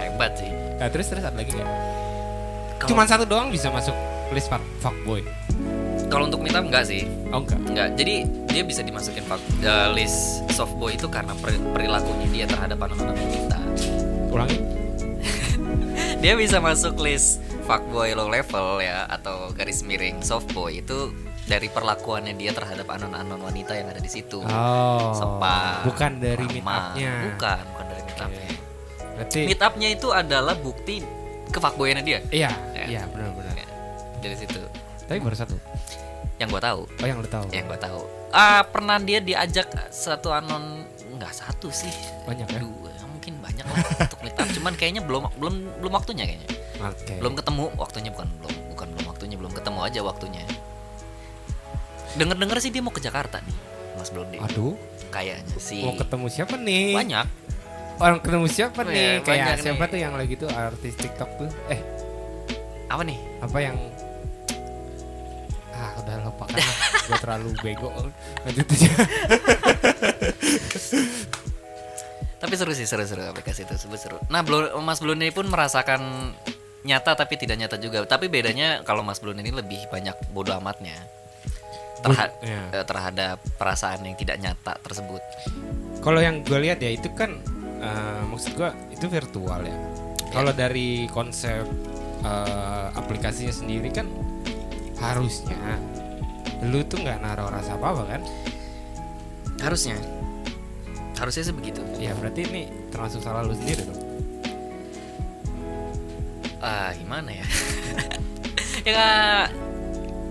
Speaker 1: Hebat sih.
Speaker 2: Nah, terus terus ada lagi nggak?
Speaker 1: Kalau-
Speaker 2: Cuman satu doang bisa masuk list fuck, fuckboy.
Speaker 1: kalau untuk minta enggak sih.
Speaker 2: Oh enggak.
Speaker 1: Enggak. Jadi dia bisa dimasukin fuck- eh, list softboy itu karena per- perilakunya dia terhadap anak-anak kita. [laughs]
Speaker 2: Ulangi.
Speaker 1: dia bisa masuk list fuckboy low level ya atau garis miring softboy itu dari perlakuannya dia terhadap anon-anon wanita yang ada di situ.
Speaker 2: Oh.
Speaker 1: Sepa,
Speaker 2: Bukan dari
Speaker 1: mama.
Speaker 2: meet up-nya.
Speaker 1: Bukan, bukan dari meet up-nya.
Speaker 2: Oke. Berarti
Speaker 1: Meet up-nya itu adalah bukti kefuckboyannya dia.
Speaker 2: iya,
Speaker 1: Ya.
Speaker 2: iya benar-benar.
Speaker 1: Ya, Dari situ.
Speaker 2: Tapi baru satu.
Speaker 1: Yang gua tahu, Eh,
Speaker 2: Oh yang lu tahu.
Speaker 1: yang gua tahu. Ah, pernah dia diajak satu anon enggak satu sih.
Speaker 2: Banyak ya.
Speaker 1: Dua, mungkin banyak lah untuk meet up. Cuman kayaknya belum belum belum waktunya kayaknya.
Speaker 2: Oke.
Speaker 1: belum ketemu waktunya bukan belum bukan belum waktunya belum ketemu aja waktunya denger dengar sih dia mau ke Jakarta nih Mas Blonde
Speaker 2: Aduh,
Speaker 1: kayaknya sih
Speaker 2: mau ketemu siapa nih?
Speaker 1: banyak
Speaker 2: Orang ketemu
Speaker 1: Iya,
Speaker 2: siapa nih?
Speaker 1: banyak
Speaker 2: Kayak siapa
Speaker 1: nih.
Speaker 2: tuh yang lagi tuh artis TikTok tuh? Eh,
Speaker 1: apa nih
Speaker 2: apa yang ah udah lupakan
Speaker 1: [laughs]
Speaker 2: lah gue terlalu bego lanjut aja
Speaker 1: tapi seru sih seru-seru aplikasi tersebut seru nah Blo- Mas Blonde pun merasakan nyata tapi tidak nyata juga tapi bedanya kalau Mas Blonde ini lebih banyak bodoh amatnya Terha-
Speaker 2: Bodo- ya.
Speaker 1: eh, terhadap perasaan yang tidak nyata tersebut
Speaker 2: kalau yang gue lihat ya itu kan eh, maksud gue itu virtual
Speaker 1: Iya.
Speaker 2: ya kalau dari konsep eh, aplikasinya sendiri kan harusnya lu tuh nggak naruh rasa apa apa kan
Speaker 1: harusnya harusnya sih begitu
Speaker 2: ya berarti ini termasuk salah lu sendiri dong
Speaker 1: ah gimana ya [laughs] ya nggak-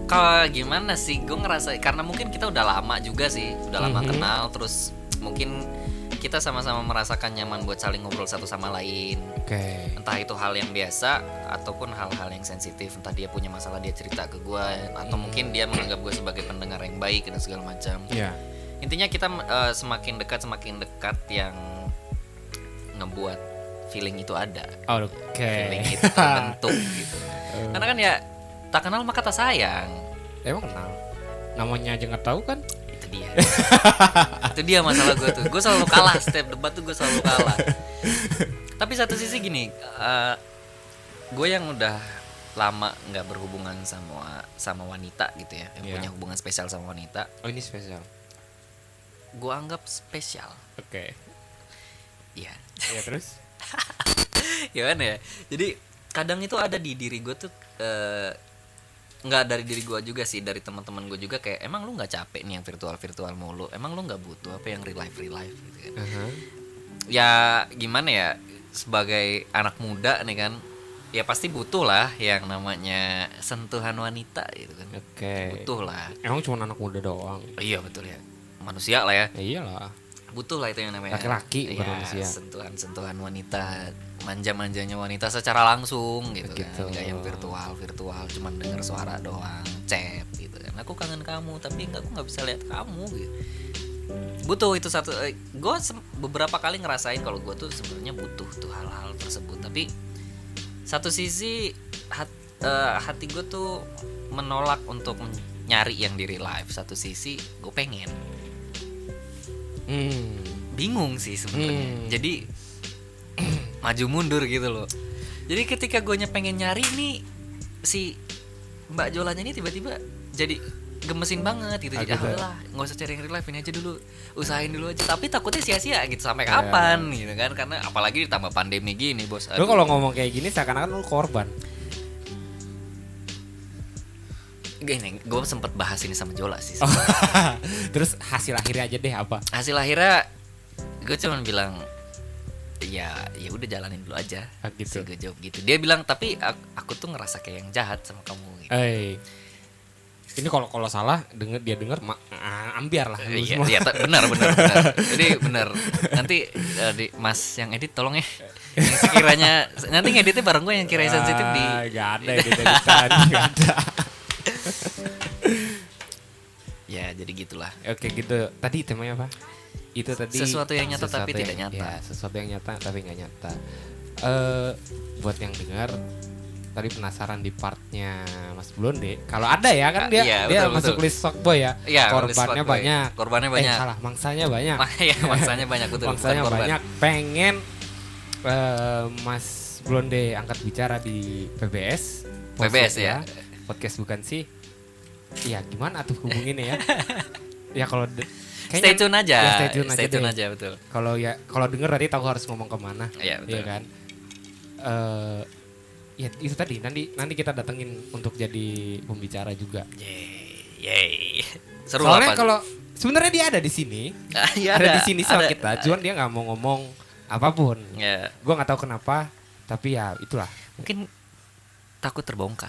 Speaker 1: kalau gimana sih gue ngerasa karena mungkin kita udah lama juga sih udah lama
Speaker 2: Mhm.
Speaker 1: kenal terus mungkin kita sama-sama merasakan nyaman buat saling ngobrol satu sama lain
Speaker 2: oke
Speaker 1: entah itu hal yang biasa ataupun hal-hal yang sensitif entah dia punya masalah dia cerita ke gue atau mungkin dia menganggap gue sebagai pendengar yang baik dan segala macam
Speaker 2: ya
Speaker 1: intinya kita eh, semakin dekat semakin dekat yang ngebuat feeling itu ada
Speaker 2: Oke.
Speaker 1: feeling
Speaker 2: [laughs]
Speaker 1: itu terbentuk gitu karena kan ya tak kenal maka tak sayang
Speaker 2: Emang kenal? Namanya aja nggak tahu kan?
Speaker 1: itu dia [laughs] itu dia masalah gue tuh gue selalu kalah setiap debat tuh gue selalu kalah tapi satu sisi gini gue yang udah lama nggak berhubungan sama sama wanita gitu ya yang
Speaker 2: Iya.
Speaker 1: punya hubungan spesial sama wanita
Speaker 2: Oh ini spesial.
Speaker 1: gue anggap spesial
Speaker 2: Oke.
Speaker 1: ya
Speaker 2: Ya terus?
Speaker 1: [laughs] gimana ya jadi kadang itu ada di diri gue tuh eh, nggak dari diri gue juga sih dari teman-teman gue juga kayak emang lu nggak capek nih yang virtual virtual mulu emang lu nggak butuh apa yang real life real life gitu kan
Speaker 2: Uh-huh.
Speaker 1: ya gimana ya sebagai anak muda nih kan ya pasti butuh lah yang namanya sentuhan wanita gitu kan
Speaker 2: Oke.
Speaker 1: butuh lah
Speaker 2: Emang cuma anak muda doang.
Speaker 1: iya betul ya manusia lah ya
Speaker 2: Ya iyalah.
Speaker 1: butuh lah itu yang namanya
Speaker 2: Laki-laki, iya. bukan manusia.
Speaker 1: sentuhan sentuhan wanita manja manjanya wanita secara langsung gitu,
Speaker 2: Gitu.
Speaker 1: kan nggak yang virtual virtual cuman denger suara doang chat gitu kan aku kangen kamu tapi nggak aku nggak bisa lihat kamu gitu butuh itu satu gue beberapa kali ngerasain kalau gue tuh sebenarnya butuh tuh hal-hal tersebut tapi satu sisi hat- eh, hati gue tuh menolak untuk men- nyari yang diri live satu sisi gue pengen
Speaker 2: Hmm.
Speaker 1: bingung sih sebenarnya.
Speaker 2: Hmm.
Speaker 1: Jadi [clears throat] maju mundur gitu loh. Jadi ketika gue pengen nyari nih si Mbak Jolanya ini tiba-tiba jadi gemesin banget gitu. Jadi
Speaker 2: Ah, gitu.
Speaker 1: ah lah, nggak usah cari yang real life ini aja dulu. Usahain dulu aja. Tapi takutnya sia-sia gitu sampai
Speaker 2: Iya.
Speaker 1: kapan gitu kan karena apalagi ditambah pandemi gini, Bos.
Speaker 2: Lu
Speaker 1: Aduh.
Speaker 2: kalau ngomong kayak gini seakan-akan lu korban. [laughs]
Speaker 1: gini, gue sempet bahas ini sama Jola sih.
Speaker 2: Oh, terus hasil akhirnya aja deh apa?
Speaker 1: Hasil akhirnya gue cuman bilang ya ya udah jalanin dulu aja
Speaker 2: Ah, gitu.
Speaker 1: Terus gue jawab gitu dia bilang tapi aku, aku tuh ngerasa kayak yang jahat sama kamu gitu.
Speaker 2: Eh. Ini kalau kalau salah denger dia denger ma- ah, ambiar lah lu
Speaker 1: Iya,
Speaker 2: semua.
Speaker 1: iya, ta- benar, benar, benar. Jadi benar. Nanti eh, di- Mas yang edit tolong ya. Yang sekiranya nanti ngeditnya bareng gue yang kiranya sensitif di.
Speaker 2: Ah, nggak ada editan, [laughs] nggak ada.
Speaker 1: Ya, jadi gitulah.
Speaker 2: Oke gitu. Tadi temanya apa? Itu tadi
Speaker 1: Sesuatu yang nyata tapi
Speaker 2: sesuatu
Speaker 1: tidak
Speaker 2: yang-
Speaker 1: nyata.
Speaker 2: ya, sesuatu yang nyata tapi nggak nyata. Eh buat yang dengar tadi penasaran di partnya Mas Blonde. Kalau ada ya
Speaker 1: Ah,
Speaker 2: kan dia
Speaker 1: iya,
Speaker 2: dia
Speaker 1: betul,
Speaker 2: masuk
Speaker 1: betul.
Speaker 2: list fuckboy ya.
Speaker 1: Iya,
Speaker 2: korbannya
Speaker 1: list fuckboy.
Speaker 2: banyak.
Speaker 1: Korbannya
Speaker 2: Eh
Speaker 1: banyak.
Speaker 2: salah, mangsanya banyak.
Speaker 1: Ma- ya, mangsanya banyak betul. bukan
Speaker 2: mangsanya
Speaker 1: korban.
Speaker 2: banyak pengen eh, Mas Blonde angkat bicara di PBS.
Speaker 1: PBS,
Speaker 2: Podcast
Speaker 1: ya.
Speaker 2: Podcast bukan sih? Iya, gimana tuh
Speaker 1: [laughs]
Speaker 2: hubunginnya ya? ya kalau de-
Speaker 1: Stay
Speaker 2: kayaknya-
Speaker 1: tune aja.
Speaker 2: Ya, stay tune aja deh.
Speaker 1: aja, betul.
Speaker 2: Kalau ya kalau denger tadi tahu harus ngomong kemana,
Speaker 1: Iya, betul.
Speaker 2: iya kan? Eh, ya itu tadi nanti nanti kita datengin untuk jadi pembicara juga.
Speaker 1: Yeay. Yeay. Seru
Speaker 2: Soalnya
Speaker 1: apa?
Speaker 2: kalau sebenarnya dia ada di sini,
Speaker 1: Ah, iya,
Speaker 2: ada, di sini sama
Speaker 1: ada.
Speaker 2: kita, cuman dia nggak mau ngomong apapun.
Speaker 1: Ya,
Speaker 2: Gue nggak tahu kenapa, tapi ya itulah.
Speaker 1: mungkin takut terbongkar.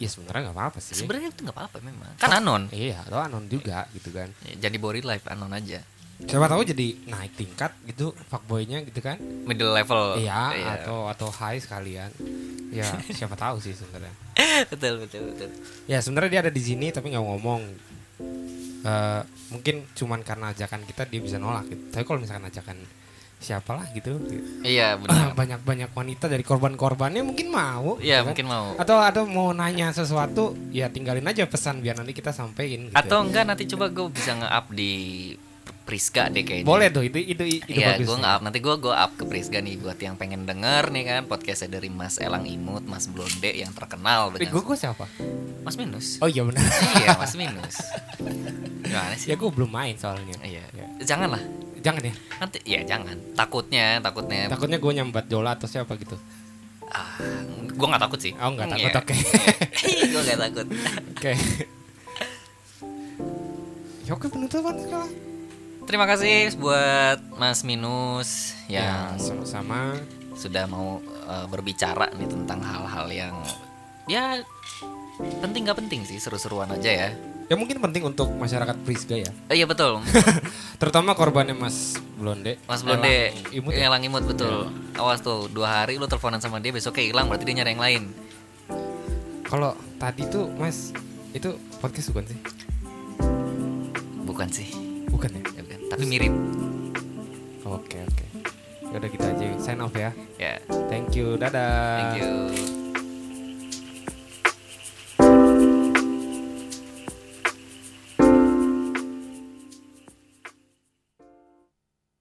Speaker 2: Ya sebenarnya nggak apa-apa sih.
Speaker 1: Sebenarnya itu nggak apa-apa memang. Kan anon. Ya,
Speaker 2: Iya, atau anon juga gitu kan.
Speaker 1: Jadi body life anon aja.
Speaker 2: Siapa tahu jadi naik tingkat gitu fuckboy-nya gitu kan.
Speaker 1: Middle level.
Speaker 2: Iya, atau atau high sekalian. Ya, [laughs] siapa tahu sih sebenarnya.
Speaker 1: [laughs] betul betul betul
Speaker 2: Ya sebenarnya dia ada di sini tapi nggak ngomong. Eh, mungkin cuman karena ajakan kita dia bisa nolak. Gitu. Tapi kalau misalkan ajakan siapalah gitu,
Speaker 1: iya
Speaker 2: ah, [coughs]
Speaker 1: benar
Speaker 2: [clears throat] banyak-banyak wanita dari korban-korbannya mungkin mau.
Speaker 1: iya
Speaker 2: gitu kan.
Speaker 1: mungkin mau
Speaker 2: Atau atau mau nanya sesuatu, ya tinggalin aja pesan biar nanti kita sampein. Gitu.
Speaker 1: atau enggak nanti coba gue bisa nge-up di Priska deh kayaknya
Speaker 2: boleh tuh itu itu itu
Speaker 1: Iya,
Speaker 2: bagus.
Speaker 1: gue nge-up nanti gue gue up ke Priska nih buat yang pengen denger nih kan podcastnya dari Mas Elang Imut, Mas Blonde yang terkenal
Speaker 2: Eh, gue
Speaker 1: dengan
Speaker 2: gue siapa?
Speaker 1: Mas Minus.
Speaker 2: Oh iya benar. [laughs]
Speaker 1: iya, Mas Minus. Gimana
Speaker 2: ya
Speaker 1: sih?
Speaker 2: gue belum main soalnya.
Speaker 1: Iya.
Speaker 2: Ya.
Speaker 1: Janganlah.
Speaker 2: Jangan ya.
Speaker 1: Nanti ya jangan. Takutnya, takutnya.
Speaker 2: Takutnya gue nyambat Jola atau siapa gitu.
Speaker 1: Ah, gue nggak takut sih.
Speaker 2: Oh nggak takut
Speaker 1: Iya. [laughs]
Speaker 2: oke. [laughs]
Speaker 1: gue nggak takut.
Speaker 2: Oke. Ya oke penutupan sekarang.
Speaker 1: Terima kasih buat Mas Minus
Speaker 2: Ya,
Speaker 1: yang
Speaker 2: sama-sama.
Speaker 1: sudah mau uh, berbicara nih tentang hal-hal yang ya penting nggak penting sih seru-seruan aja ya.
Speaker 2: Ya mungkin penting untuk masyarakat Prisga ya.
Speaker 1: Eh, iya betul,
Speaker 2: Terutama korbannya Mas Blonde.
Speaker 1: Mas Blonde
Speaker 2: Elang Imut
Speaker 1: imut,
Speaker 2: ya? Iya.
Speaker 1: ngelang imut betul. Awas tuh dua hari lu teleponan sama dia besoknya hilang berarti dia nyari yang lain.
Speaker 2: Kalau tadi tuh Mas itu podcast bukan sih?
Speaker 1: Bukan sih?
Speaker 2: Bukan ya?
Speaker 1: ya kan? tapi mirip
Speaker 2: Oke oke. Ya udah gitu aja. Sign off ya.
Speaker 1: ya
Speaker 2: Thank you. Dadah.
Speaker 1: thank you